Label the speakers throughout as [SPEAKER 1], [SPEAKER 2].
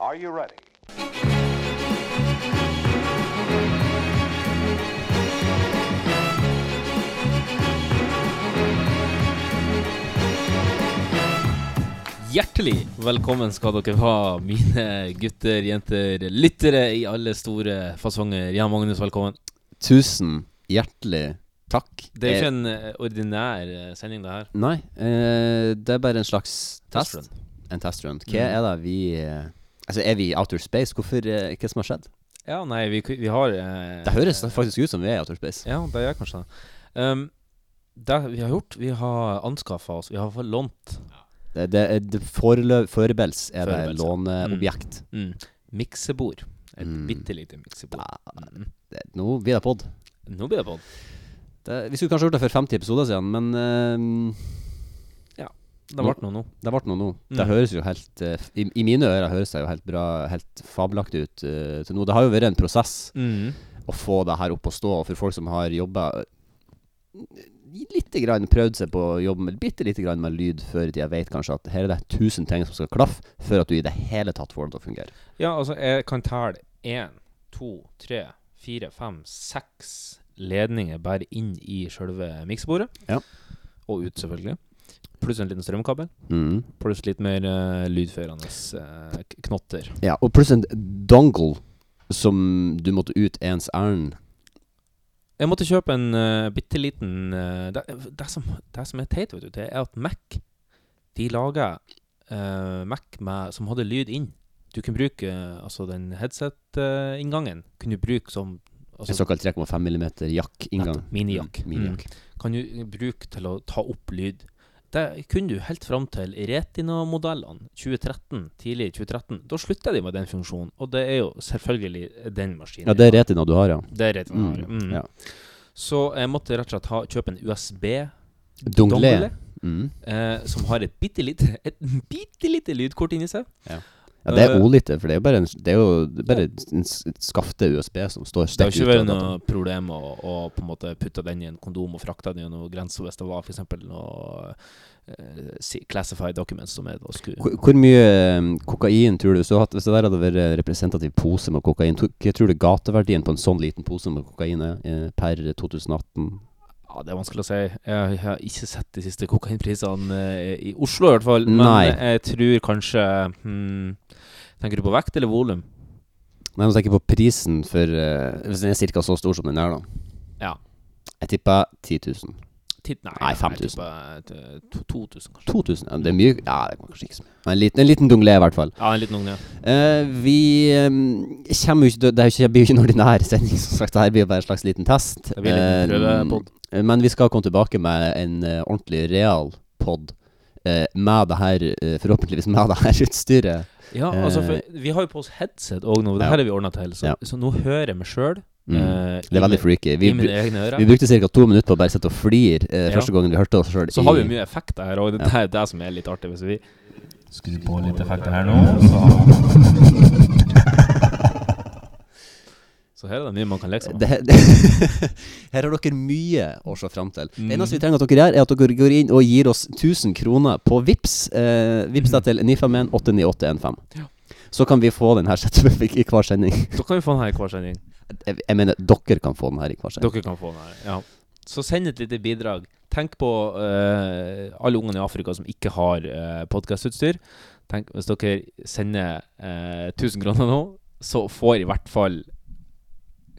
[SPEAKER 1] Are you ready?
[SPEAKER 2] Hjertelig velkommen skal dere ha, mine gutter, jenter, lyttere i alle store fasonger. Jan Magnus, velkommen.
[SPEAKER 3] Tusen hjertelig takk.
[SPEAKER 2] Det er jo ikke en eh, ordinær eh, sending, det her.
[SPEAKER 3] Eh, Nei, eh, det er bare en slags test.
[SPEAKER 2] Testrun.
[SPEAKER 3] En testrun. Hva
[SPEAKER 2] Mm.
[SPEAKER 3] er det vi eh, Altså, er vi i outer space? Hvorfor eh, Hva som har skjedd?
[SPEAKER 2] Ja, nei, vi, ku- vi har eh,
[SPEAKER 3] Det høres faktisk ut som vi er i outer space.
[SPEAKER 2] Ja, det gjør kanskje det. Um, det vi har gjort, vi har anskaffa oss Vi har fått lånt
[SPEAKER 3] Det, det, er- det forelø- Foreløpig er det
[SPEAKER 2] Foreløpig, ja.
[SPEAKER 3] låneobjekt.
[SPEAKER 2] mm, miksebord. Et
[SPEAKER 3] Mm.
[SPEAKER 2] bitte lite miksebord. Mm.
[SPEAKER 3] Det, nå blir det pod.
[SPEAKER 2] Nå blir det på.
[SPEAKER 3] Det, vi skulle kanskje gjort det for 50 episoder siden, men eh,
[SPEAKER 2] Det ble noe nå.
[SPEAKER 3] det ble noe nå. Det
[SPEAKER 2] Mm.
[SPEAKER 3] høres jo helt eh, f- i, I mine ører høres det jo helt bra, helt fabelaktig ut eh, til nå. Det har jo vært en prosess.
[SPEAKER 2] Mm.
[SPEAKER 3] å få det her opp å stå. Og for folk som har jobba lite grann prøvd seg på å jobbe med bitte lite grann med lyd før de vet kanskje at her er det tusen ting som skal klaffe før at du i det hele tatt får det til å fungere.
[SPEAKER 2] Ja, altså, jeg kan telle én, to, tre, fire, fem, seks ledninger bare inn i sjølve miksebordet.
[SPEAKER 3] Ja.
[SPEAKER 2] Og ut, selvfølgelig. Pluss en liten strømkabel.
[SPEAKER 3] Mm.
[SPEAKER 2] Pluss litt mer uh, lydførende eh, k- knotter.
[SPEAKER 3] Ja, og pluss en dongle som du måtte ut ens ærend.
[SPEAKER 2] Jeg måtte kjøpe en uh, bitte liten eh, det, det, som, det som er teit, vet du, det er at Mac De lager eh, Mac med, som hadde lyd inn. Du kunne bruke eh, altså den headset-inngangen. Kunne du bruke som
[SPEAKER 3] En
[SPEAKER 2] altså,
[SPEAKER 3] såkalt 3,5 mm jakk-inngang.
[SPEAKER 2] Nettopp, minijakk.
[SPEAKER 3] Mm, minijakk.
[SPEAKER 2] kan du bruke til å ta opp lyd. Det kunne du helt fram til Retina-modellene 2013, tidlig i 2013. Da slutta de med den funksjonen, og det er jo selvfølgelig den maskinen.
[SPEAKER 3] Ja, det er retina du har, ja.
[SPEAKER 2] Det er Retina.
[SPEAKER 3] Mm,
[SPEAKER 2] har, Mm.
[SPEAKER 3] ja.
[SPEAKER 2] Så jeg måtte rett og slett ha, kjøpe en USB-dongle
[SPEAKER 3] Dongle. Mm.
[SPEAKER 2] eh, som har et bitte lite, et bitte lite lydkort inni seg.
[SPEAKER 3] Ja, det er
[SPEAKER 2] Eh,
[SPEAKER 3] ordlite, for det er jo bare en, det er jo bare en s- skafte USB som står
[SPEAKER 2] Det har
[SPEAKER 3] stekt
[SPEAKER 2] ikke
[SPEAKER 3] ut.
[SPEAKER 2] vært
[SPEAKER 3] av
[SPEAKER 2] noe
[SPEAKER 3] dataen.
[SPEAKER 2] problem å, å på en måte putte den i en kondom og frakte den gjennom grensa hvis det var f.eks. noe eh, si- classified documents som jeg da skulle
[SPEAKER 3] Hvor, hvor mye eh, kokain tror du Hvis du hadde, hvis det der hadde vært eh, representativ pose med kokain, tro- hva tror du gateverdien på en sånn liten pose med kokain er eh, per 2018?
[SPEAKER 2] Ja, Det er vanskelig å si. Jeg har ikke sett de siste kokainprisene eh, i Oslo, i hvert fall. Men
[SPEAKER 3] Nei.
[SPEAKER 2] jeg tror kanskje hmm, Tenker du på vekt eller volum?
[SPEAKER 3] Nei, nå tenker jeg på prisen for eh, Hvis den er ca. så stor som den er, da.
[SPEAKER 2] Ja.
[SPEAKER 3] Jeg tipper 10 000.
[SPEAKER 2] Tid-
[SPEAKER 3] Nei,
[SPEAKER 2] jeg
[SPEAKER 3] 5000.
[SPEAKER 2] tipper, eh, to- 2000, kanskje.
[SPEAKER 3] 2000? Ja, det er mye Ja, det var kanskje ikke så mye. En liten, en liten dongle, i hvert fall.
[SPEAKER 2] Ja, en liten unge.
[SPEAKER 3] Eh, vi eh, kommer jo ikke til Det er jo ikke- det blir jo ikke en ordinær sending, som sagt. Det her blir jo bare en slags liten test.
[SPEAKER 2] Det blir en liten
[SPEAKER 3] Eh,
[SPEAKER 2] prøvepod.
[SPEAKER 3] Eh, Men vi skal komme tilbake med en eh, ordentlig real pod eh, med det her, eh, forhåpentligvis med det her utstyret.
[SPEAKER 2] Ja, altså, for
[SPEAKER 3] eh,
[SPEAKER 2] vi har jo på oss headset òg nå. Det
[SPEAKER 3] ja.
[SPEAKER 2] her er vi ordna til. Så,
[SPEAKER 3] Ja. Mm.
[SPEAKER 2] så nå hører jeg meg sjøl. eh,
[SPEAKER 3] Det er
[SPEAKER 2] i
[SPEAKER 3] veldig
[SPEAKER 2] mi-
[SPEAKER 3] freaky. Vi,
[SPEAKER 2] I
[SPEAKER 3] bru-
[SPEAKER 2] mine egne ører.
[SPEAKER 3] vi brukte ca. to minutter på å bare sitte og flire eh,
[SPEAKER 2] Ja.
[SPEAKER 3] første gangen vi hørte oss sjøl.
[SPEAKER 2] Så har vi mye effekter her òg. Det er det som er litt artig. Hvis vi
[SPEAKER 4] Skru på litt effekter her nå. Så.
[SPEAKER 2] Så her er det mye man kan leke seg med.
[SPEAKER 3] det, Her har dere mye å se fram til. Det
[SPEAKER 2] Mm.
[SPEAKER 3] eneste vi trenger at dere gjør, er at dere går inn og gir oss 1000 kroner på Vips eh, Vips deg til 951-89815.
[SPEAKER 2] Mm. Ja.
[SPEAKER 3] Så kan vi få den her setupen i hver sending.
[SPEAKER 2] Da kan vi få den her i hver sending.
[SPEAKER 3] Jeg, jeg mener, dere kan få den her i hver sending.
[SPEAKER 2] Dere kan få den her. Ja. Så send et lite bidrag. Tenk på eh, alle ungene i Afrika som ikke har uh, podkastutstyr. Tenk hvis dere sender eh, 1000 kroner nå, så får i hvert fall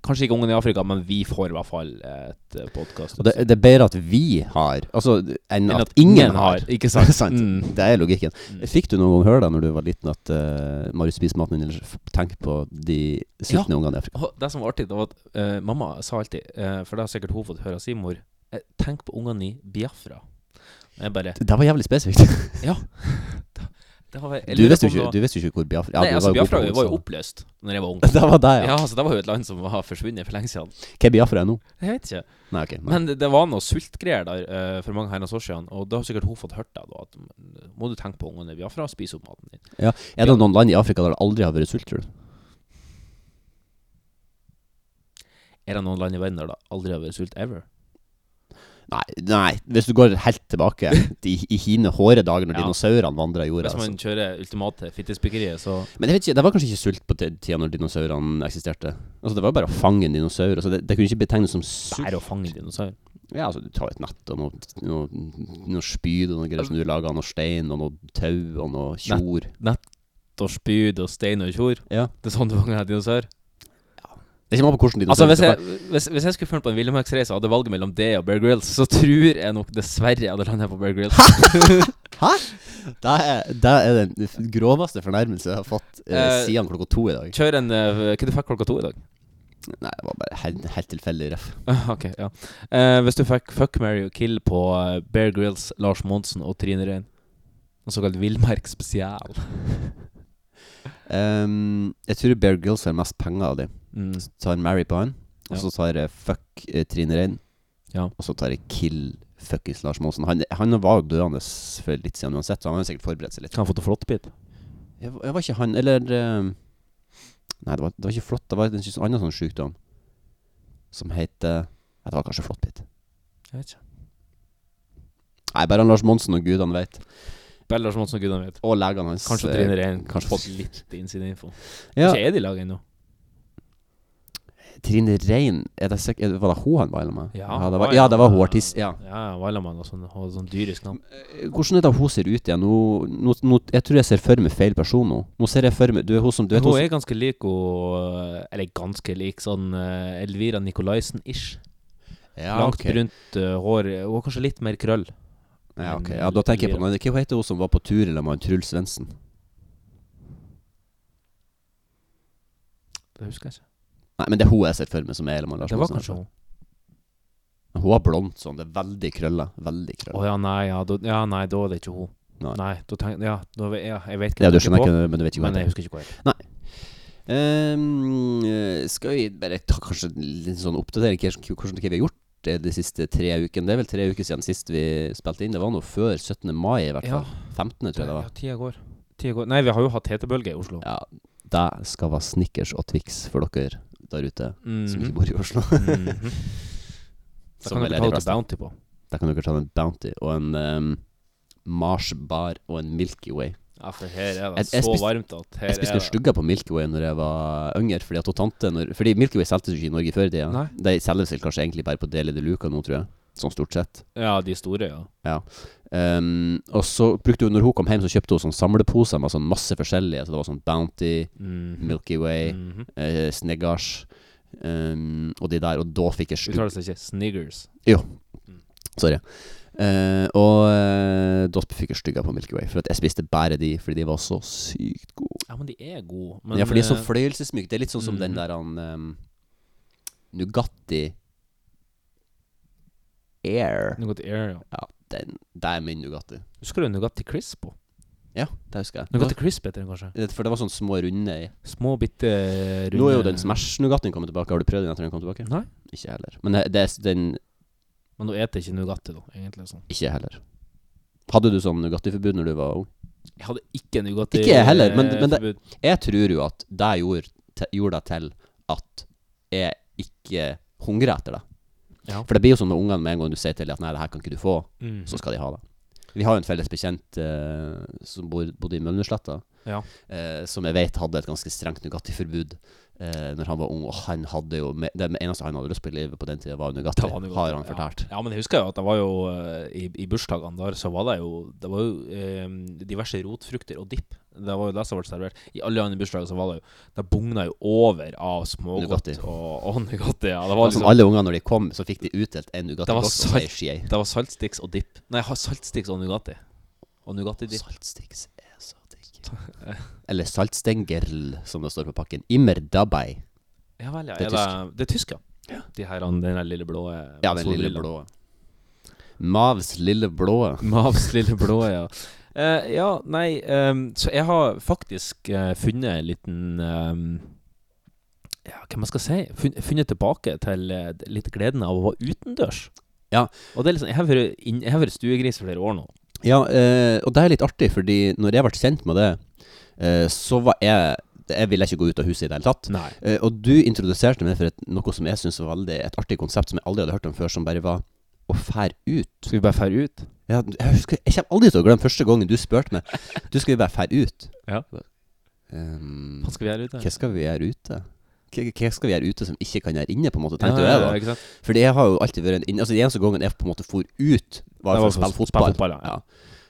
[SPEAKER 2] Kanskje ikke ungene i Afrika, men vi får i hvert fall et eh,
[SPEAKER 3] Og det,
[SPEAKER 2] podkastutstyr.
[SPEAKER 3] det er bedre at vi har Altså enn at, ingen har.
[SPEAKER 2] Ikke sant?
[SPEAKER 3] Sant.
[SPEAKER 2] Mm.
[SPEAKER 3] Det er logikken.
[SPEAKER 2] Mm.
[SPEAKER 3] Fikk du noen gang høre det når du var liten, at uh, Marius spiser maten din, eller f- tenk på de sultne ungene i Afrika?
[SPEAKER 2] Og det som var artig, det var at eh, mamma sa alltid, eh, for det har sikkert hun fått høre av sin mor, eh, tenk på ungene i Biafra. Og Jeg bare
[SPEAKER 3] Det det var jævlig spesifikt.
[SPEAKER 2] det har jeg- jeg
[SPEAKER 3] Du
[SPEAKER 2] lurer
[SPEAKER 3] visste
[SPEAKER 2] på om det
[SPEAKER 3] jo ikke,
[SPEAKER 2] var-
[SPEAKER 3] du visste jo ikke hvor Biafra
[SPEAKER 2] Nei, altså
[SPEAKER 3] du
[SPEAKER 2] Biafra
[SPEAKER 3] god på
[SPEAKER 2] var jo
[SPEAKER 3] ord,
[SPEAKER 2] oppløst Når jeg var ung
[SPEAKER 3] så- Det var deg,
[SPEAKER 2] Ja,
[SPEAKER 3] ja.
[SPEAKER 2] så det var jo et land som var forsvunnet for lenge siden
[SPEAKER 3] Hva er Biafra nå?
[SPEAKER 2] Jeg vet ikke
[SPEAKER 3] Nei, ok. Nei.
[SPEAKER 2] Men det, det var noe sultgreier der eh, For mange herrens år siden Og da har sikkert hun fått hørt det da At mm, må du tenke på ungene i Biafra og Spise opp maten din
[SPEAKER 3] er det noen land i Afrika der det aldri har vært sult, tror du?
[SPEAKER 2] Er det noen land i verden der det aldri har vært sult ever?
[SPEAKER 3] Nei, nei, hvis du går helt tilbake i, i hine hårde dager når
[SPEAKER 2] Ja.
[SPEAKER 3] dinosaurene vandra jorda.
[SPEAKER 2] Hvis man
[SPEAKER 3] Altså.
[SPEAKER 2] kjører ultimate fittespikkeriet, så
[SPEAKER 3] Men jeg vet ikke, det var kanskje ikke sult på den tida når dinosaurene eksisterte. Altså Det var jo bare å fange en dinosaur. Altså, det, det kunne ikke betegnes som sult.
[SPEAKER 2] Bære og fange dinosaur.
[SPEAKER 3] Ja, altså Du tar et nett og noe, noe, noe spyd og noe greier som du lager av noe stein og noe tau og noe tjor.
[SPEAKER 2] Og spyd og stein og tjor.
[SPEAKER 3] Ja.
[SPEAKER 2] Det er sånn du fanger en dinosaur.
[SPEAKER 3] Det kommer an på hvordan
[SPEAKER 2] Altså
[SPEAKER 3] dinosaur
[SPEAKER 2] Hvis jeg, hvis, hvis jeg skulle funnet på en villmarksreise og hadde valget mellom det og Bear Grylls, så tror jeg nok dessverre jeg hadde landet på Bear Grylls.
[SPEAKER 3] det, er, det er den f- groveste fornærmelse jeg har fått eh,
[SPEAKER 2] Eh,
[SPEAKER 3] siden klokka to i dag.
[SPEAKER 2] Kjør en eh, Hva du fikk klokka to i dag?
[SPEAKER 3] Nei, det var bare helt, helt tilfeldig ref.
[SPEAKER 2] Ah, Ok, ja Eh, Hvis du fikk Fuck, Mary og Kill på eh, Bear Grylls, Lars Monsen og Trine Rein En såkalt villmarksspesial.
[SPEAKER 3] Ehm, jeg tror Bear Grylls har mest penger av de.
[SPEAKER 2] Mm.
[SPEAKER 3] Så tar Mary på han, og
[SPEAKER 2] Ja.
[SPEAKER 3] så tar jeg fuck eh, Trine Rein.
[SPEAKER 2] Ja.
[SPEAKER 3] Og så tar jeg kill fuckings Lars Monsen. Han, han var jo døende for litt siden uansett, så han har sikkert forberedt seg litt.
[SPEAKER 2] Kan han fått en flåttbit?
[SPEAKER 3] Jeg, var- jeg var ikke han, eller eh, Nei, det var, det var ikke flott. Det var en sånn annen sånn sjukdom som heter Nei, det var kanskje flåttbitt.
[SPEAKER 2] Jeg vet ikke.
[SPEAKER 3] Nei, bare han Lars Monsen og gudene vet.
[SPEAKER 2] Bare Lars Monsen og gudene vet.
[SPEAKER 3] Og legene hans.
[SPEAKER 2] Kanskje
[SPEAKER 3] eh,
[SPEAKER 2] Trine Rein
[SPEAKER 3] kanskje-
[SPEAKER 2] fått litt innsideinfo.
[SPEAKER 3] Ja,
[SPEAKER 2] Ikke er de i lag ennå.
[SPEAKER 3] Trine Rein er det sikk- er det- Var det hun han var sammen med?
[SPEAKER 2] Ja,
[SPEAKER 3] det
[SPEAKER 2] han
[SPEAKER 3] var,
[SPEAKER 2] var
[SPEAKER 3] ja,
[SPEAKER 2] jo-
[SPEAKER 3] det var hun artist. Ja.
[SPEAKER 2] Ja, Vailamann og sånn, og sånn dyrisk navn.
[SPEAKER 3] Eh, Hvordan er det hun ser ut igjen? Nå, nå, nå, jeg tror jeg ser for meg feil person nå. Nå ser jeg for meg Du er hun som du vet,
[SPEAKER 2] hun
[SPEAKER 3] hun,
[SPEAKER 2] er ganske lik hun Eller ganske lik sånn eh, Elvira Nicolaisen-ish.
[SPEAKER 3] ja,
[SPEAKER 2] Langt
[SPEAKER 3] ok.
[SPEAKER 2] brunt eh, hår. Hun har kanskje litt mer krøll.
[SPEAKER 3] Ja, ok. ja, da tenker jeg på noe. Hva heter hun som var på tur eller med han Truls Svendsen?
[SPEAKER 2] Det husker jeg ikke.
[SPEAKER 3] Nei, men det er hun jeg ser for meg som er Ellemann Larsen.
[SPEAKER 2] Det var kanskje hun.
[SPEAKER 3] Hun var blond sånn. Det er veldig krølla. Veldig
[SPEAKER 2] Å
[SPEAKER 3] krølla.
[SPEAKER 2] ja, nei, ja, da, ja, nei, da er det ikke hun.
[SPEAKER 3] Nei.
[SPEAKER 2] Nei, da tenker Ja, da, ve- ja, jeg vet
[SPEAKER 3] Ja, du
[SPEAKER 2] jeg tenker
[SPEAKER 3] skjønner
[SPEAKER 2] på,
[SPEAKER 3] ikke, men du vet ikke hva
[SPEAKER 2] Men
[SPEAKER 3] det
[SPEAKER 2] jeg
[SPEAKER 3] er.
[SPEAKER 2] husker ikke hva jeg
[SPEAKER 3] Ehm, eh, skal vi bare ta kanskje en liten sånn oppdatering hva, hvordan hva vi har gjort det de siste tre ukene? Det er vel tre uker siden sist vi spilte inn. Det var nå før 17. mai, i hvert
[SPEAKER 2] Ja.
[SPEAKER 3] fall. 15. tror jeg det var.
[SPEAKER 2] Ja, tida går. Tida går. Nei, vi har jo hatt hetebølge i Oslo.
[SPEAKER 3] Ja, det skal være Snickers og Twix for dere der ute som
[SPEAKER 2] Mhm.
[SPEAKER 3] ikke bor i Oslo.
[SPEAKER 2] Mhm. Da
[SPEAKER 3] Som
[SPEAKER 2] kan
[SPEAKER 3] vel
[SPEAKER 2] dere
[SPEAKER 3] er
[SPEAKER 2] ta
[SPEAKER 3] de
[SPEAKER 2] ut
[SPEAKER 3] fleste.
[SPEAKER 2] Bounty på.
[SPEAKER 3] Da kan dere ta en Bounty og en ehm, Mars Bar og en Milky Way.
[SPEAKER 2] Ja, for her er
[SPEAKER 3] Jeg-
[SPEAKER 2] det
[SPEAKER 3] jeg
[SPEAKER 2] så
[SPEAKER 3] spiste-
[SPEAKER 2] varmt at her
[SPEAKER 3] Jeg spiste
[SPEAKER 2] er
[SPEAKER 3] jo stugger på Milky Way når jeg var yngre, fordi at hun tante når, Fordi Milky Way solgtes jo ikke i Norge før i tida.
[SPEAKER 2] Nei.
[SPEAKER 3] De selges vel kanskje egentlig bare på Deli de Luca nå, tror jeg. Sånn stort sett.
[SPEAKER 2] Ja, de store, ja.
[SPEAKER 3] Ehm, og så brukte hun, når hun kom hjem, så kjøpte hun sånn samleposer med sånn masse forskjellige. Så det var sånn Bounty,
[SPEAKER 2] Mhm.
[SPEAKER 3] Milky Way,
[SPEAKER 2] Mhm.
[SPEAKER 3] eh, Snickers ehm, og de der. Og da fikk jeg stugg.
[SPEAKER 2] Uttales det ikke Sniggers?
[SPEAKER 3] Sorry. Eh, og eh, da fikk jeg stygga på Milky Way, for at jeg spiste bare de fordi de var så sykt gode.
[SPEAKER 2] Ja, men de er gode. Men,
[SPEAKER 3] ja, for de er så
[SPEAKER 2] eh,
[SPEAKER 3] fløyelsesmyke. Det er litt sånn som den
[SPEAKER 2] Mhm.
[SPEAKER 3] der han ehm, Nugatti Air.
[SPEAKER 2] Nugatti Air, ja.
[SPEAKER 3] Ja, den, det er min Nugatti.
[SPEAKER 2] Husker du Nugatti Crisp? også?
[SPEAKER 3] Ja, det husker jeg.
[SPEAKER 2] Nugatti Crisp heter den kanskje.
[SPEAKER 3] Det var- For det var sånne små runde i.
[SPEAKER 2] Små, bitte runde
[SPEAKER 3] Nå er jo den Smash-Nugattien kommet tilbake. Har du prøvd den etter den kom tilbake?
[SPEAKER 2] Nei.
[SPEAKER 3] Ikke jeg heller. Men det, det er den
[SPEAKER 2] Men nå eter jeg ikke Nugatti, da. Egentlig sånn.
[SPEAKER 3] Ikke jeg heller. Hadde du sånn Nugatti-forbud når du var ung?
[SPEAKER 2] Jeg hadde ikke Nugatti
[SPEAKER 3] Ikke jeg heller, men-
[SPEAKER 2] eh,
[SPEAKER 3] men det-
[SPEAKER 2] forbud.
[SPEAKER 3] Jeg tror jo at det gjorde, te, gjorde det til at jeg ikke hungrer etter det.
[SPEAKER 2] Ja.
[SPEAKER 3] For det blir jo sånn når ungene med en gang du sier til dem at nei, det her kan ikke du få,
[SPEAKER 2] Mm.
[SPEAKER 3] så skal de ha det. Vi har jo en felles bekjent eh, som bor, bodde i Mølnersletta,
[SPEAKER 2] Ja.
[SPEAKER 3] eh, som jeg vet hadde et ganske strengt Nugatti-forbud eh, når han var ung. Og han hadde jo me- Det eneste han hadde lyst på i livet på den tida, var Nugatti,
[SPEAKER 2] Det var Nugatti,
[SPEAKER 3] har han
[SPEAKER 2] ja.
[SPEAKER 3] fortalt.
[SPEAKER 2] Ja, men jeg husker jo at det var jo eh, i, i bursdagene der, så var det jo Det var jo eh, diverse rotfrukter og dipp. Det var jo det som ble servert. I alle andre bursdager så var det jo Det bugna jo over av smågodt
[SPEAKER 3] Nugatti.
[SPEAKER 2] og, og Nugatti. Ja, det
[SPEAKER 3] Og
[SPEAKER 2] var
[SPEAKER 3] som
[SPEAKER 2] liksom
[SPEAKER 3] Altså, alle ungene, når de kom, så fikk de utdelt en
[SPEAKER 2] Det var
[SPEAKER 3] Nugatti-boks og
[SPEAKER 2] salt.
[SPEAKER 3] ei skje.
[SPEAKER 2] Det var saltstiks og dipp. Nei, ha- saltstiks og Nugatti. Og Nugatti-dipp.
[SPEAKER 3] Saltstiks er så digg. Eller saltstengerl, som det står på pakken. Immerdabei.
[SPEAKER 2] Ja vel, ja.
[SPEAKER 3] Det er
[SPEAKER 2] Er det, det er tysk, ja. De her, han- den her lille blå eh,
[SPEAKER 3] Ja, den lille
[SPEAKER 2] solbrilla.
[SPEAKER 3] blå. Mavs lille blå.
[SPEAKER 2] Mavs lille blå, ja. Eh, ja, nei ehm, Så jeg har faktisk eh, funnet en liten ehm, Ja, hva man skal si? Fun, funnet tilbake til eh, litt gleden av å være utendørs.
[SPEAKER 3] Ja.
[SPEAKER 2] Og det er liksom Jeg har vært inn- jeg har vært stuegris i flere år nå.
[SPEAKER 3] Ja, eh, og det er litt artig, fordi når jeg ble kjent med det, eh, så var jeg Jeg ville ikke gå ut av huset i det hele tatt.
[SPEAKER 2] Nei.
[SPEAKER 3] Eh, og du introduserte meg for et, noe som jeg syns var veldig et artig konsept som jeg aldri hadde hørt om før, som bare var å fære ut.
[SPEAKER 2] Skal vi bare fære ut?
[SPEAKER 3] Ja, jeg, husker, jeg kommer aldri til å glemme første gangen du spurte meg Du skal vi bare fære ut.
[SPEAKER 2] Ja.
[SPEAKER 3] Ehm,
[SPEAKER 2] Hva skal vi gjøre ute?
[SPEAKER 3] hva skal vi gjøre ute? Hva hva skal vi gjøre ute som ikke kan gjøre inne, på en måte, tenkte
[SPEAKER 2] Ja,
[SPEAKER 3] jeg
[SPEAKER 2] ja,
[SPEAKER 3] da.
[SPEAKER 2] ja, ikke sant?
[SPEAKER 3] For det har jo alltid vært en inn- Altså, den eneste gangen jeg på en måte for ut, var
[SPEAKER 2] Det
[SPEAKER 3] for
[SPEAKER 2] var
[SPEAKER 3] å spille
[SPEAKER 2] for å spille
[SPEAKER 3] fotball.
[SPEAKER 2] fotball, ja.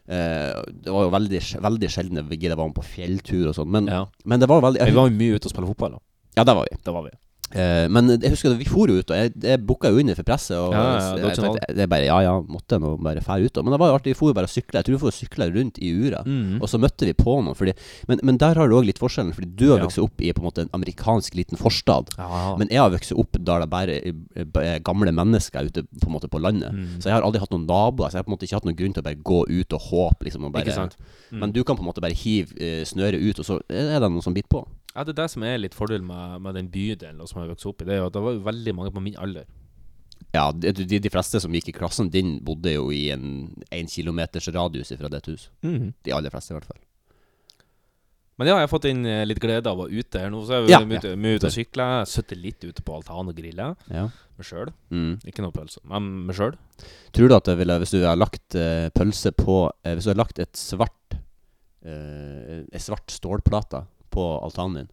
[SPEAKER 3] Eh, det var jo veldig, sj- veldig sjelden jeg gidder være med på fjelltur og sånn, men,
[SPEAKER 2] Ja.
[SPEAKER 3] men det var veldig
[SPEAKER 2] Vi
[SPEAKER 3] jeg,
[SPEAKER 2] var jo mye ute og spilte fotball, da.
[SPEAKER 3] Ja, der var vi.
[SPEAKER 2] Det var vi.
[SPEAKER 3] Eh, men jeg husker at vi for jo ut, og jeg, jeg booka jo inn for presset. Og
[SPEAKER 2] Ja, ja,
[SPEAKER 3] jeg,
[SPEAKER 2] det var ikke
[SPEAKER 3] tenkte, det er bare, ja ja, måtte nå bare fære ut, da. Men det var jo artig, vi for jo bare og sykla. Jeg tror vi for og sykla rundt i ura.
[SPEAKER 2] Mm.
[SPEAKER 3] Og så møtte vi på noen, fordi, men, men der har du òg litt forskjellen. Fordi du har
[SPEAKER 2] Ja.
[SPEAKER 3] vokst opp i på en måte en amerikansk liten forstad.
[SPEAKER 2] Ja.
[SPEAKER 3] Men jeg har vokst opp der det bare er b- gamle mennesker ute på, en måte, på
[SPEAKER 2] Mm.
[SPEAKER 3] landet. Så jeg har aldri hatt noen naboer. Så jeg har på en måte ikke hatt noen grunn til å bare gå ut og håpe. Liksom, og bare,
[SPEAKER 2] Ikke sant?
[SPEAKER 3] Men du kan på en måte bare hive eh, snøret ut, og så er det noen som biter på.
[SPEAKER 2] Ja, det er det som er litt fordelen med, med den bydelen og som jeg vokste opp i. Det er jo at det var jo veldig mange på min alder.
[SPEAKER 3] Ja, de, de, de fleste som gikk i klassen din, bodde jo i en én kilometers radius fra ditt hus.
[SPEAKER 2] Mm.
[SPEAKER 3] De aller fleste, i hvert fall.
[SPEAKER 2] Men ja, jeg har fått inn eh, litt glede av å være ute her nå. Så jeg
[SPEAKER 3] Ja.
[SPEAKER 2] er mye ute- mye ute og sykler. Jeg sitter litt ute på altan og griller
[SPEAKER 3] Ja.
[SPEAKER 2] meg sjøl.
[SPEAKER 3] Mm.
[SPEAKER 2] Ikke noe pølse, men meg sjøl.
[SPEAKER 3] Tror du at det ville, hvis du har lagt eh, pølse på eh, Hvis du har lagt et svart eh, En svart stålplate på altanen din,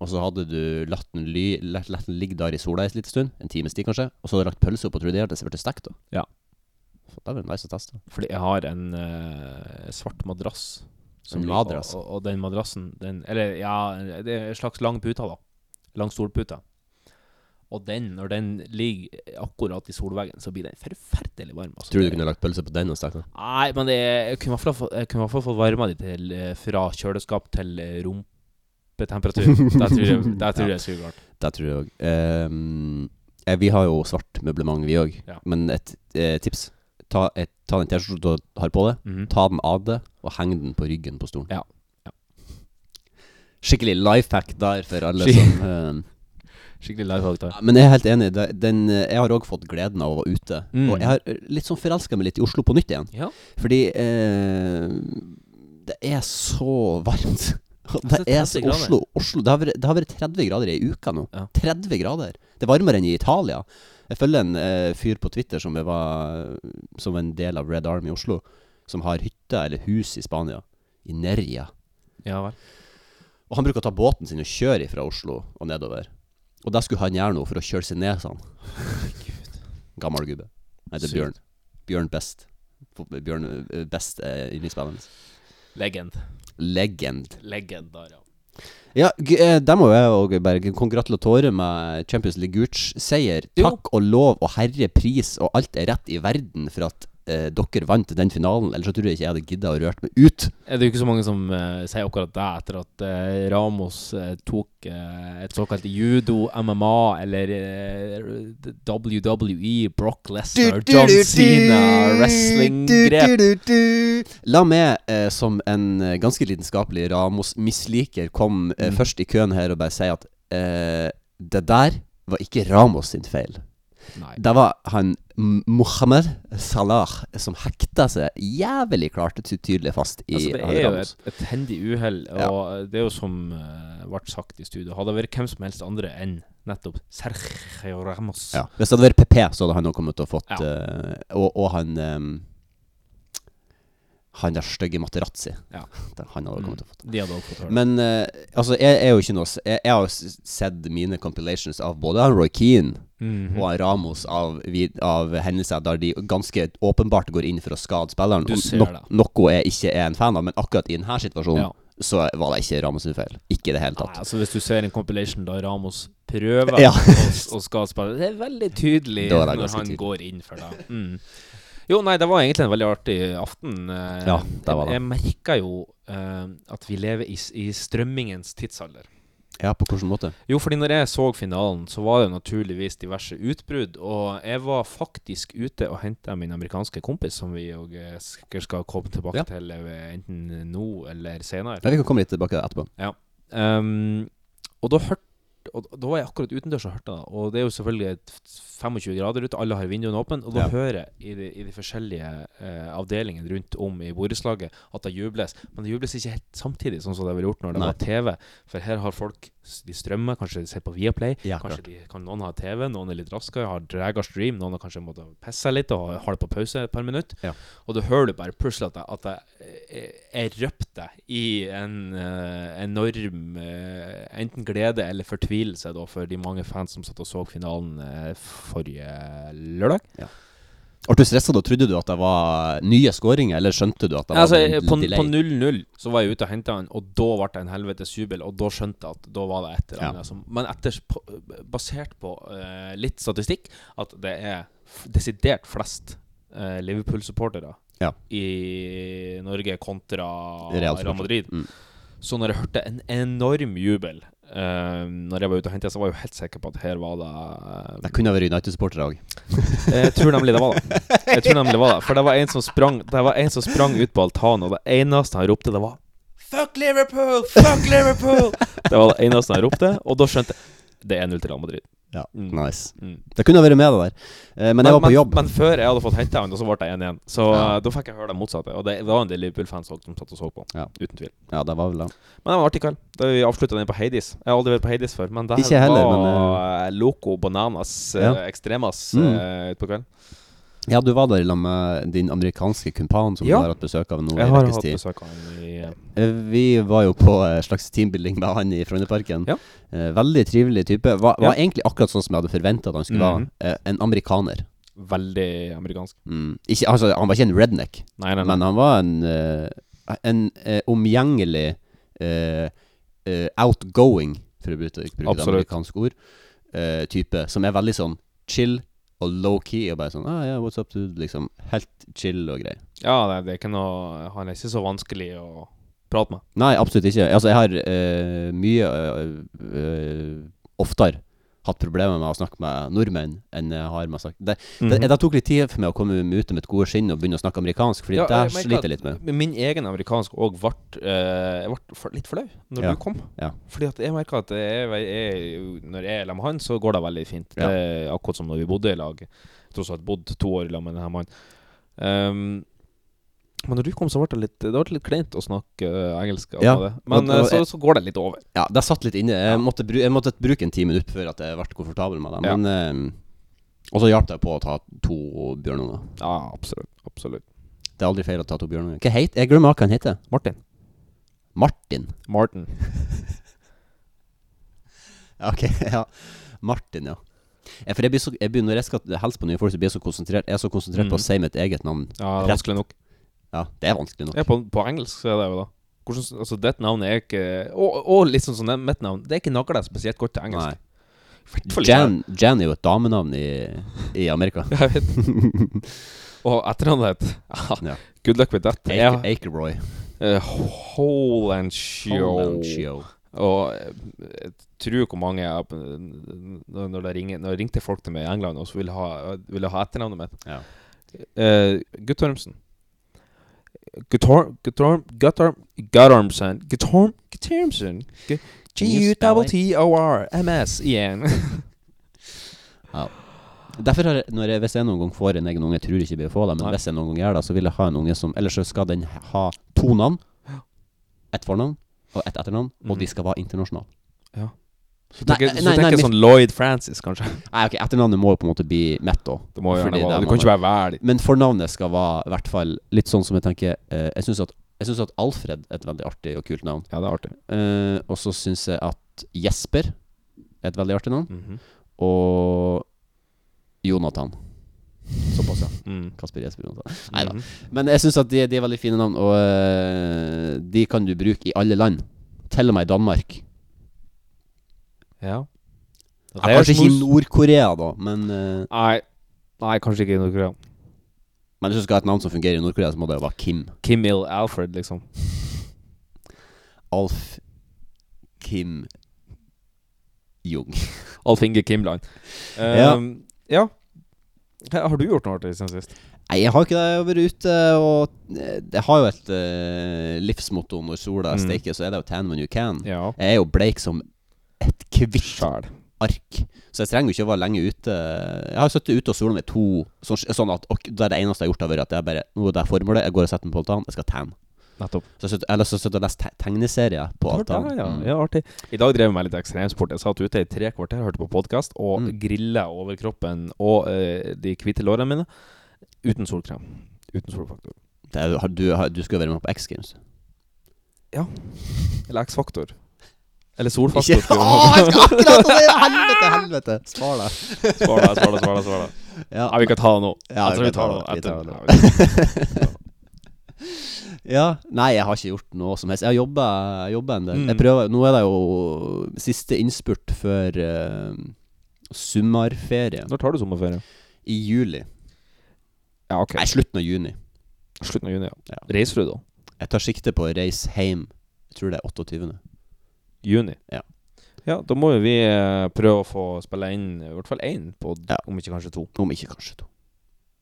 [SPEAKER 3] og så hadde du latt den, ly, latt, latt den ligge der i sola en liten stund, en times tid kanskje, og så hadde du lagt pølse oppå, tror du det hadde blitt stekt da?
[SPEAKER 2] Ja.
[SPEAKER 3] Så Det var nice å teste.
[SPEAKER 2] Fordi jeg har en eh, svart madrass.
[SPEAKER 3] En
[SPEAKER 2] ligger-
[SPEAKER 3] madrass?
[SPEAKER 2] Og, og, og den madrassen den, Eller ja, det er en slags lang pute, da. Lang stolpute. Og den, når den ligger akkurat i solveggen, så blir den forferdelig varm. Altså.
[SPEAKER 3] Tror du du kunne lagt pølse på den og stekt den?
[SPEAKER 2] Nei, men det, jeg kunne i hvert fall få- jeg kunne i hvert fall fått varma de til, eh, fra kjøleskap til eh, rumpetemperatur. Det tror jeg, det tror jeg skulle klart.
[SPEAKER 3] Det tror jeg òg. vi har jo svart møblement, vi òg,
[SPEAKER 2] Ja.
[SPEAKER 3] men et eh, tips Ta, et, ta den T-skjorta du har på deg,
[SPEAKER 2] Mhm.
[SPEAKER 3] Ta den av det og heng den på ryggen på stolen.
[SPEAKER 2] Ja. Ja.
[SPEAKER 3] Skikkelig life hack der for alle
[SPEAKER 2] Skik-
[SPEAKER 3] som eh,
[SPEAKER 2] Skikkelig live hack der.
[SPEAKER 3] ja, Men jeg er helt enig. det- Den, eh, jeg har òg fått gleden av å være ute.
[SPEAKER 2] Mm.
[SPEAKER 3] Og jeg har eh, litt sånn forelska meg litt i Oslo på nytt igjen.
[SPEAKER 2] Ja.
[SPEAKER 3] Fordi eh, det er så varmt. Og Det
[SPEAKER 2] Det er
[SPEAKER 3] er så
[SPEAKER 2] 30 Altså, grader.
[SPEAKER 3] Oslo, Oslo det, har vært, det har vært 30 grader i ei uke nå.
[SPEAKER 2] Ja.
[SPEAKER 3] 30 grader. Det er varmere enn i Italia. Jeg følger en eh, fyr på Twitter som, jeg var, som var en del av Red Army i Oslo, som har hytte eller hus i Spania, i Nerja.
[SPEAKER 2] Ja vel.
[SPEAKER 3] Og han bruker å ta båten sin og kjøre fra Oslo og nedover. Og det skulle han gjøre nå for å kjøle seg ned, sa han. Gammel gubbe. Han heter
[SPEAKER 2] Sykt.
[SPEAKER 3] Bjørn. Bjørn Best. Fot- Bjørn eh, Best er yndlingsspilleren hans.
[SPEAKER 2] Legend.
[SPEAKER 3] Legend.
[SPEAKER 2] Legend der, ja.
[SPEAKER 3] Ja, g- eh, der må jeg òg bare kongratulatore med Champions League-seier.
[SPEAKER 2] Jo.
[SPEAKER 3] Takk og lov og herre pris og alt er rett i verden for at eh, dere vant den finalen. Ellers så tror jeg ikke jeg hadde gidda å rørt meg ut.
[SPEAKER 2] Er det jo ikke så mange som eh, sier akkurat det etter at eh, Ramos eh, tok eh, et såkalt judo, MMA eller eh, WWE, Brock Lesnar, John Cena, wrestling-grep?
[SPEAKER 3] La meg, eh, som en eh, ganske lidenskapelig Ramos-misliker, komme eh,
[SPEAKER 2] Mm.
[SPEAKER 3] først i køen her og bare si at eh, det der var ikke Ramos sin feil.
[SPEAKER 2] Nei.
[SPEAKER 3] Det var han M- Mohammed Salah som hekta seg jævlig klart og ty- tydelig fast i
[SPEAKER 2] altså, det
[SPEAKER 3] han
[SPEAKER 2] er jo
[SPEAKER 3] Ramos.
[SPEAKER 2] et, et hendig uhell, og
[SPEAKER 3] Ja.
[SPEAKER 2] det er jo som eh, ble sagt i studio, hadde det vært hvem som helst andre enn nettopp Sergio Ramos
[SPEAKER 3] Ja. Hvis det hadde vært PP, så hadde han nå kommet til å fått
[SPEAKER 2] Ja.
[SPEAKER 3] eh, og, og han ehm, Han der stygge Materazzi.
[SPEAKER 2] Ja. Mm.
[SPEAKER 3] Det- Han hadde kommet til å fått.
[SPEAKER 2] De hadde også fått høre det.
[SPEAKER 3] Men eh, altså, jeg er jo ikke noe s- Jeg, jeg har jo s- sett mine compilations av både han Roy Keane
[SPEAKER 2] Mhm.
[SPEAKER 3] og han Ramos av, vid- av hendelser der de ganske åpenbart går inn for å skade spilleren.
[SPEAKER 2] Du
[SPEAKER 3] og
[SPEAKER 2] ser
[SPEAKER 3] nok-
[SPEAKER 2] det.
[SPEAKER 3] Noe jeg ikke er en fan av, men akkurat i denne situasjonen
[SPEAKER 2] Ja.
[SPEAKER 3] så var det ikke Ramos sin feil. Ikke i det hele
[SPEAKER 2] Nei,
[SPEAKER 3] tatt.
[SPEAKER 2] altså Hvis du ser en compilation da Ramos prøver
[SPEAKER 3] Ja.
[SPEAKER 2] å, å skal spille Det er veldig tydelig
[SPEAKER 3] Da er det
[SPEAKER 2] når
[SPEAKER 3] ganske
[SPEAKER 2] han
[SPEAKER 3] tydelig.
[SPEAKER 2] går inn for det. Mm. Jo, nei, det var egentlig en veldig artig aften. eh,
[SPEAKER 3] Ja, det var det.
[SPEAKER 2] Jeg, jeg merka jo eh, at vi lever i, s- i strømmingens tidsalder.
[SPEAKER 3] Ja, på hvilken måte?
[SPEAKER 2] Jo, fordi når jeg så finalen, så var det jo naturligvis diverse utbrudd. Og jeg var faktisk ute og henta min amerikanske kompis, som vi jo eh, sikkert skal komme tilbake
[SPEAKER 3] Ja.
[SPEAKER 2] til eh, enten nå eller senere.
[SPEAKER 3] Ja, vi kan komme litt tilbake etterpå.
[SPEAKER 2] Um, Ehm, og da hørte Og da- da var jeg akkurat utendørs og hørte det. Og det er jo selvfølgelig et f- 25 grader ute, alle har vinduene åpne. Og da
[SPEAKER 3] Ja.
[SPEAKER 2] hører jeg i de, i de forskjellige eh, avdelingene rundt om i borettslaget at det jubles. Men det jubles ikke helt samtidig, sånn som det ville gjort når det
[SPEAKER 3] Nei.
[SPEAKER 2] var TV. For her har folk s- De strømmer, kanskje de ser på Viaplay.
[SPEAKER 3] Ja,
[SPEAKER 2] Kanskje de, kan noen ha TV, noen er litt raskere, har drega stream, noen har kanskje måttet pisse seg litt og har- har det på pause et par minutter.
[SPEAKER 3] Ja.
[SPEAKER 2] Og da hører du bare plutselig at jeg, at jeg, eh, jeg røpte i en eh, enorm eh, enten glede eller fortvilelse da, for de mange fans som satt og så finalen eh, forrige lørdag.
[SPEAKER 3] Ble du stressa da? Trodde du at det var nye skåringer, eller skjønte du at det var
[SPEAKER 2] Altså,
[SPEAKER 3] en
[SPEAKER 2] på
[SPEAKER 3] delay?
[SPEAKER 2] på 0-0 så var jeg ute og henta han, og da ble det en helvetes jubel. Og da skjønte jeg at da var det et eller
[SPEAKER 3] Ja.
[SPEAKER 2] annet som Men etter, på, basert på eh, litt statistikk, at det er f desidert flest eh, Liverpool-supportere
[SPEAKER 3] Ja.
[SPEAKER 2] i Norge kontra
[SPEAKER 3] Real
[SPEAKER 2] Real Madrid.
[SPEAKER 3] Mm.
[SPEAKER 2] Så når jeg hørte en enorm jubel eh, Når jeg var ute og henta, så var jeg jo helt sikker på at her var det eh,
[SPEAKER 3] Det kunne vært United-supportere òg.
[SPEAKER 2] jeg tror nemlig det var det. Jeg tror nemlig det var det For det var en som sprang Det var en som sprang ut på altanen, og det eneste han ropte, det var Fuck Liverpool! Fuck Liverpool! Det var det eneste han ropte, og da skjønte jeg Det er 0 til Real Madrid.
[SPEAKER 3] Ja,
[SPEAKER 2] Mm.
[SPEAKER 3] nice.
[SPEAKER 2] Mm.
[SPEAKER 3] Det kunne vært med det der. Eh, men jeg var på jobb.
[SPEAKER 2] Men, før jeg hadde fått henta han, og så ble det 1-1. Så
[SPEAKER 3] Ja.
[SPEAKER 2] eh, da fikk jeg høre det motsatte. Og det var en del Liverpool-fans også som satt og så på.
[SPEAKER 3] Ja.
[SPEAKER 2] Uten tvil.
[SPEAKER 3] ja, det var vel det.
[SPEAKER 2] Men det var en artig kveld. Da vi avslutta den på Hades. Jeg har aldri vært på Hades før, men det
[SPEAKER 3] Ikke jeg heller,
[SPEAKER 2] var
[SPEAKER 3] men,
[SPEAKER 2] eh, loco bananas
[SPEAKER 3] Ja.
[SPEAKER 2] eh, extremas
[SPEAKER 3] Mm.
[SPEAKER 2] eh, utpå kvelden.
[SPEAKER 3] Ja, du var der sammen med din amerikanske kumpan som
[SPEAKER 2] Ja.
[SPEAKER 3] du har hatt besøk av nå i
[SPEAKER 2] Jeg har
[SPEAKER 3] ukes
[SPEAKER 2] hatt
[SPEAKER 3] tid.
[SPEAKER 2] besøk av han i eh,
[SPEAKER 3] Eh, Vi var jo på eh, slags teambuilding med han i Frognerparken.
[SPEAKER 2] Ja.
[SPEAKER 3] Eh, Veldig trivelig type. Var,
[SPEAKER 2] Ja.
[SPEAKER 3] var egentlig akkurat sånn som jeg hadde forventa at han skulle
[SPEAKER 2] Mhm.
[SPEAKER 3] være. Eh, En amerikaner.
[SPEAKER 2] Veldig amerikansk.
[SPEAKER 3] Mm. Ikke, altså, han var ikke en redneck,
[SPEAKER 2] Nei, nei, nei.
[SPEAKER 3] men han var en, eh, en eh, omgjengelig eh, eh, outgoing, for å bruke, bruke et
[SPEAKER 2] Absolutt.
[SPEAKER 3] amerikansk ord, eh, type som er veldig sånn chill og low-key og bare sånn ah, yeah, what's up dude? Liksom helt chill og greier.
[SPEAKER 2] Ja, det, det er ikke noe Han er ikke så vanskelig å prate med.
[SPEAKER 3] Nei, absolutt ikke. Altså, jeg har eh, mye eh, eh, oftere hatt problemer med å snakke med nordmenn enn jeg har med å snakke det, det,
[SPEAKER 2] Mhm.
[SPEAKER 3] det tok litt tid for meg å komme meg ut med et gode skinn og begynne å snakke amerikansk, fordi
[SPEAKER 2] Ja,
[SPEAKER 3] det
[SPEAKER 2] jeg merker
[SPEAKER 3] sliter
[SPEAKER 2] at
[SPEAKER 3] jeg litt med.
[SPEAKER 2] Min egen amerikansk òg ble, eh, jeg ble for- litt flau når
[SPEAKER 3] Ja,
[SPEAKER 2] du kom.
[SPEAKER 3] ja.
[SPEAKER 2] Fordi at jeg merker at jeg, jeg, jeg, når jeg er sammen med han, så går det veldig fint.
[SPEAKER 3] Ja.
[SPEAKER 2] Det er akkurat som når vi bodde i lag. Jeg tror også jeg har bodd to år i lag med denne mannen. Ehm, men når du kom, så ble det litt Det ble litt kleint å snakke eh, engelsk. av
[SPEAKER 3] Ja,
[SPEAKER 2] det. Men
[SPEAKER 3] og- og
[SPEAKER 2] eh, så, så går det litt over.
[SPEAKER 3] Ja, det satt litt inne. Jeg måtte, bru, jeg måtte bruke en ti minutter før at jeg ble komfortabel med det.
[SPEAKER 2] Ja.
[SPEAKER 3] Men eh, Og så hjalp det på å ta to bjørnunger.
[SPEAKER 2] Ja, absolutt. Absolutt.
[SPEAKER 3] Det er aldri feil å ta to bjørnunger. Hva heter Jeg glemmer hva han heter.
[SPEAKER 2] Martin.
[SPEAKER 3] Martin.
[SPEAKER 2] Martin.
[SPEAKER 3] Ja, Ok, ja. Martin, ja. Eh, For jeg blir så, jeg blir, når jeg skal hilse på nye folk, så blir jeg så konsentrert, jeg er så konsentrert på å
[SPEAKER 2] Mhm.
[SPEAKER 3] si mitt eget navn.
[SPEAKER 2] Ja, det
[SPEAKER 3] Rett.
[SPEAKER 2] er vanskelig nok.
[SPEAKER 3] Ja, det er vanskelig nok.
[SPEAKER 2] Ja, på, på engelsk så er det jo da Hvordan, altså Ditt navn er ikke Og, og litt sånn som det- mitt navn. Det er ikke nagla spesielt godt til engelsk.
[SPEAKER 3] Nei.
[SPEAKER 2] Hvertfall ikke-
[SPEAKER 3] Jan, Jan er jo et damenavn i, i Amerika.
[SPEAKER 2] Jeg vet. Og etternavnet het
[SPEAKER 3] Ja.
[SPEAKER 2] Good luck with that. Ja.
[SPEAKER 3] Aker, Akerboy.
[SPEAKER 2] eh, Hollandshow.
[SPEAKER 3] Hollandshow.
[SPEAKER 2] Og eh, jeg tror hvor mange jeg, når, når, det ringer, når det ringte folk til meg i England og så ville ha, ville ha etternavnet mitt
[SPEAKER 3] Ja.
[SPEAKER 2] Eh, Guttormsen. Guttorm... Guttorm... Guttorm... Guttormsen. Guttorm... Guttormsen. Gu-
[SPEAKER 3] Can you spell it?
[SPEAKER 2] G-U-T-T-O-R-M-S igjen.
[SPEAKER 3] Derfor har jeg, når jeg, hvis jeg noen gang får en egen unge, jeg tror ikke jeg blir å få det, men
[SPEAKER 2] Nei.
[SPEAKER 3] hvis jeg noen gang gjør det, så vil jeg ha en unge som Ellers så skal den ha to navn. Ett fornavn og ett etternavn, og
[SPEAKER 2] Mhm.
[SPEAKER 3] de skal være internasjonale.
[SPEAKER 2] Så
[SPEAKER 3] Nei,
[SPEAKER 2] tenker jeg-
[SPEAKER 3] nei,
[SPEAKER 2] så tenker
[SPEAKER 3] nei,
[SPEAKER 2] jeg sånn Lloyd Francis, kanskje.
[SPEAKER 3] Nei, ok, etternavnet må jo på en måte bli Mett òg.
[SPEAKER 2] Det må jo
[SPEAKER 3] Fordi
[SPEAKER 2] gjerne
[SPEAKER 3] det er
[SPEAKER 2] være Du kan ikke være væl.
[SPEAKER 3] Men fornavnet skal være i hvert fall litt sånn som jeg tenker eh, Jeg syns at, jeg synes at Alfred er et veldig artig og kult navn.
[SPEAKER 2] Ja, det er artig.
[SPEAKER 3] Eh, og så syns jeg at Jesper er et veldig artig navn.
[SPEAKER 2] Mhm.
[SPEAKER 3] Og Jonathan. Såpass, ja.
[SPEAKER 2] Mm.
[SPEAKER 3] Kasper Jesper Jonathan. Nei da.
[SPEAKER 2] Mhm.
[SPEAKER 3] Men jeg syns at de, de er veldig fine navn, og eh, de kan du bruke i alle land. Til og med i Danmark.
[SPEAKER 2] Ja.
[SPEAKER 3] Ja, kanskje ikke i Nord-Korea, da, men, eh,
[SPEAKER 2] Nei. Nei, kanskje ikke i Nord-Korea.
[SPEAKER 3] men hvis du skal ha et navn som fungerer i Nord-Korea, så må det jo være Kim.
[SPEAKER 2] Kim Il Alfred, liksom.
[SPEAKER 3] Alf Kim Jung.
[SPEAKER 2] Alf Inge Kimland.
[SPEAKER 3] Ja.
[SPEAKER 2] Um, ja. Har du gjort noe artig siden sist?
[SPEAKER 3] Nei, jeg har ikke det. Jeg har vært ute og eh, Jeg har jo et eh, livsmotto når sola
[SPEAKER 2] Mm.
[SPEAKER 3] steiker, så er det jo 'tan when you can'.
[SPEAKER 2] Ja.
[SPEAKER 3] Jeg er jo bleik som et kvitt
[SPEAKER 2] Sjæl.
[SPEAKER 3] ark. Så jeg trenger jo ikke å være lenge ute. Jeg har sittet ute og sola med to sånn, sånn at ok, Det er det eneste jeg har gjort, har vært at jeg bare Nå er det formålet, jeg går og setter den på altanen, jeg skal tan.
[SPEAKER 2] Nettopp.
[SPEAKER 3] Så jeg har sittet- ellers har jeg sittet og lest te tegneserier på
[SPEAKER 2] Ja,
[SPEAKER 3] altanen.
[SPEAKER 2] ja,
[SPEAKER 3] Mm.
[SPEAKER 2] ja, artig. I dag drev jeg med litt ekstremsport. Jeg satt ute i tre kvarter, hørte på podkast og
[SPEAKER 3] Mm.
[SPEAKER 2] grilla overkroppen og eh, de hvite lårene mine uten solkrem. Uten solfaktor.
[SPEAKER 3] Det er, jo- har- du, har- du skal jo være med på X Games.
[SPEAKER 2] Eller X-faktor. Eller
[SPEAKER 3] Ikke
[SPEAKER 2] solfaktor. skulle
[SPEAKER 3] Åh,
[SPEAKER 2] jeg-
[SPEAKER 3] jeg skal akkurat si det! Helvete, helvete! Spar deg.
[SPEAKER 2] Svar deg, svar deg, svar deg, svar deg.
[SPEAKER 3] Ja,
[SPEAKER 2] Nei, vi kan ta det nå.
[SPEAKER 3] Ja,
[SPEAKER 2] Jeg tror vi tar
[SPEAKER 3] det,
[SPEAKER 2] det
[SPEAKER 3] tar
[SPEAKER 2] etter-
[SPEAKER 3] det. ja. Nei, jeg har ikke gjort noe som helst. Jeg har jobba, jobba en del.
[SPEAKER 2] Mm.
[SPEAKER 3] Jeg prøver, nå er det jo siste innspurt før uh, sommerferie.
[SPEAKER 2] Når tar du sommerferie?
[SPEAKER 3] I juli.
[SPEAKER 2] Ja, ok.
[SPEAKER 3] Nei, slutten av juni.
[SPEAKER 2] Slutten av juni, ja.
[SPEAKER 3] Ja.
[SPEAKER 2] Reiser du da?
[SPEAKER 3] Jeg tar sikte på å reise hjem. Jeg tror det er 28.
[SPEAKER 2] Juni?
[SPEAKER 3] Ja.
[SPEAKER 2] Ja, da må jo vi eh, prøve å få spille inn i hvert fall én pod,
[SPEAKER 3] Ja.
[SPEAKER 2] om ikke kanskje to.
[SPEAKER 3] Om ikke kanskje to.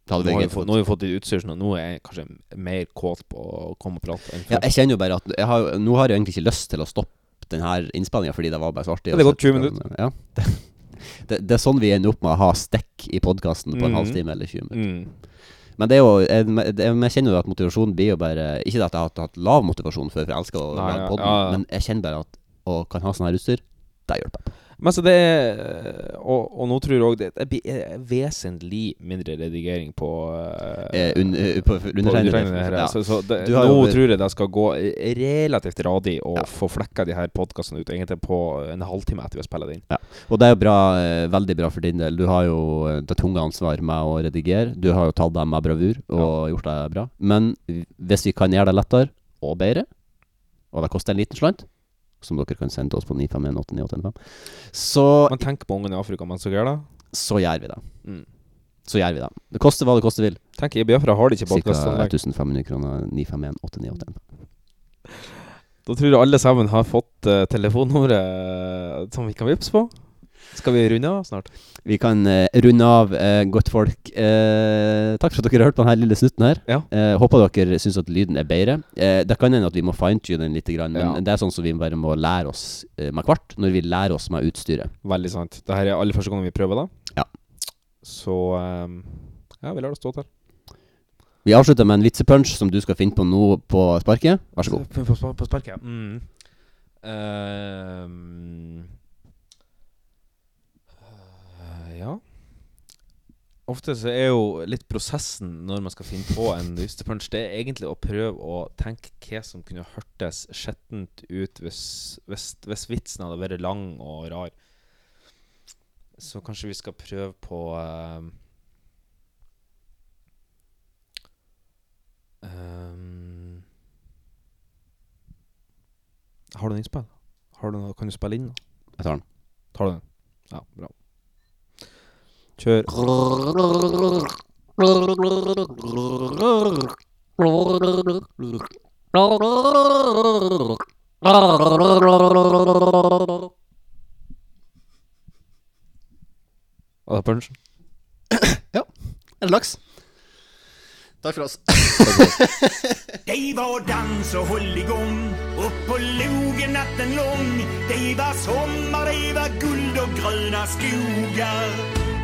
[SPEAKER 3] Det
[SPEAKER 2] Nå
[SPEAKER 3] hadde
[SPEAKER 2] har vi
[SPEAKER 3] vært greit.
[SPEAKER 2] fått, nå har vi fått litt utstyr, så nå er jeg kanskje mer kåt på å komme og prate enn
[SPEAKER 3] Ja,
[SPEAKER 2] før.
[SPEAKER 3] jeg kjenner jo bare at jeg har, jo- Nå har jeg egentlig ikke lyst til å stoppe den her innspillinga fordi det var bare så artig.
[SPEAKER 2] Ja, det er
[SPEAKER 3] å
[SPEAKER 2] gått 20
[SPEAKER 3] sette den- Ja. Det, det er sånn vi ender opp med å ha stekk i podkasten på en
[SPEAKER 2] Mhm.
[SPEAKER 3] halvtime eller 20 minutter.
[SPEAKER 2] Mm.
[SPEAKER 3] Men det er jo jeg, men jeg kjenner jo at motivasjonen blir jo bare Ikke at jeg har hatt- hatt lav motivasjon før, for jeg elsker å
[SPEAKER 2] Nei,
[SPEAKER 3] lage
[SPEAKER 2] ja,
[SPEAKER 3] podden,
[SPEAKER 2] ja, ja.
[SPEAKER 3] men jeg kjenner bare at å kan ha sånn her utstyr, det hjelper.
[SPEAKER 2] Men altså det er eh, Og, og nå tror jeg òg det det blir eh, vesentlig mindre redigering på
[SPEAKER 3] Eh, un, eh, på, liksom. for-
[SPEAKER 2] på undertegnede her.
[SPEAKER 3] Ja.
[SPEAKER 2] Så, så det,
[SPEAKER 3] Du
[SPEAKER 2] nå
[SPEAKER 3] har jo-
[SPEAKER 2] tror jeg det skal gå relativt radig å
[SPEAKER 3] Ja.
[SPEAKER 2] få flekka de her podkastene ut egentlig på en halvtime etter vi har spilt det inn.
[SPEAKER 3] Og det er jo bra, eh, veldig bra for din del. Du har jo eh, det tunge ansvaret med å redigere. Du har jo tatt det med bravur og gjort det bra. Men hvis vi kan gjøre det lettere og bedre, og det koster en liten slant, som dere kan sende til oss på 9518985, så,
[SPEAKER 2] Men tenk på ungene i Afrika mens dere gjør det.
[SPEAKER 3] så gjør vi det.
[SPEAKER 2] Mm.
[SPEAKER 3] Så gjør vi det. Det koster hva det koste vil.
[SPEAKER 2] Tenk, i Biafra har de ikke
[SPEAKER 3] Ca.
[SPEAKER 2] podkastanlegg.
[SPEAKER 3] 1500 kroner. 951
[SPEAKER 2] Da tror jeg alle sammen har fått eh, telefonnummeret eh, som vi kan vippse på. Skal vi runde av snart?
[SPEAKER 3] Vi kan eh, runde av, eh, godt folk. Eh, takk for at dere har hørt på denne lille snutten her.
[SPEAKER 2] Ja.
[SPEAKER 3] Eh, håper dere syns at lyden er bedre. Eh, det kan hende at vi må fine-tune den litt, grann, men
[SPEAKER 2] Ja.
[SPEAKER 3] det er sånn som vi bare må lære oss eh, med hvert, når vi lærer oss med utstyret.
[SPEAKER 2] Veldig sant. Dette er aller første gang vi prøver det.
[SPEAKER 3] Ja.
[SPEAKER 2] Så eh, ja, vi lar det stå til.
[SPEAKER 3] Vi avslutter med en vitsepunch som du skal finne på nå på sparket. Vær så god.
[SPEAKER 2] På, på, på sparket. Mm. Ehm. Eh, ja. Ofte så er jo litt prosessen når man skal finne på en dystepunch, det er egentlig å prøve å tenke hva som kunne hørtes skjettent ut hvis, hvis, hvis vitsen hadde vært lang og rar. Så kanskje vi skal prøve på ehm, ehm, Har du noe innspill? Har du noe, kan du spille inn? noe?
[SPEAKER 3] Jeg tar den.
[SPEAKER 2] Tar du den? Ja, bra. Kjør. Og det er punchen.
[SPEAKER 3] En laks. Takk for oss.
[SPEAKER 1] De var dans og hulligång Upp på logen natten lång De var sommar, de var guld och gröna skogar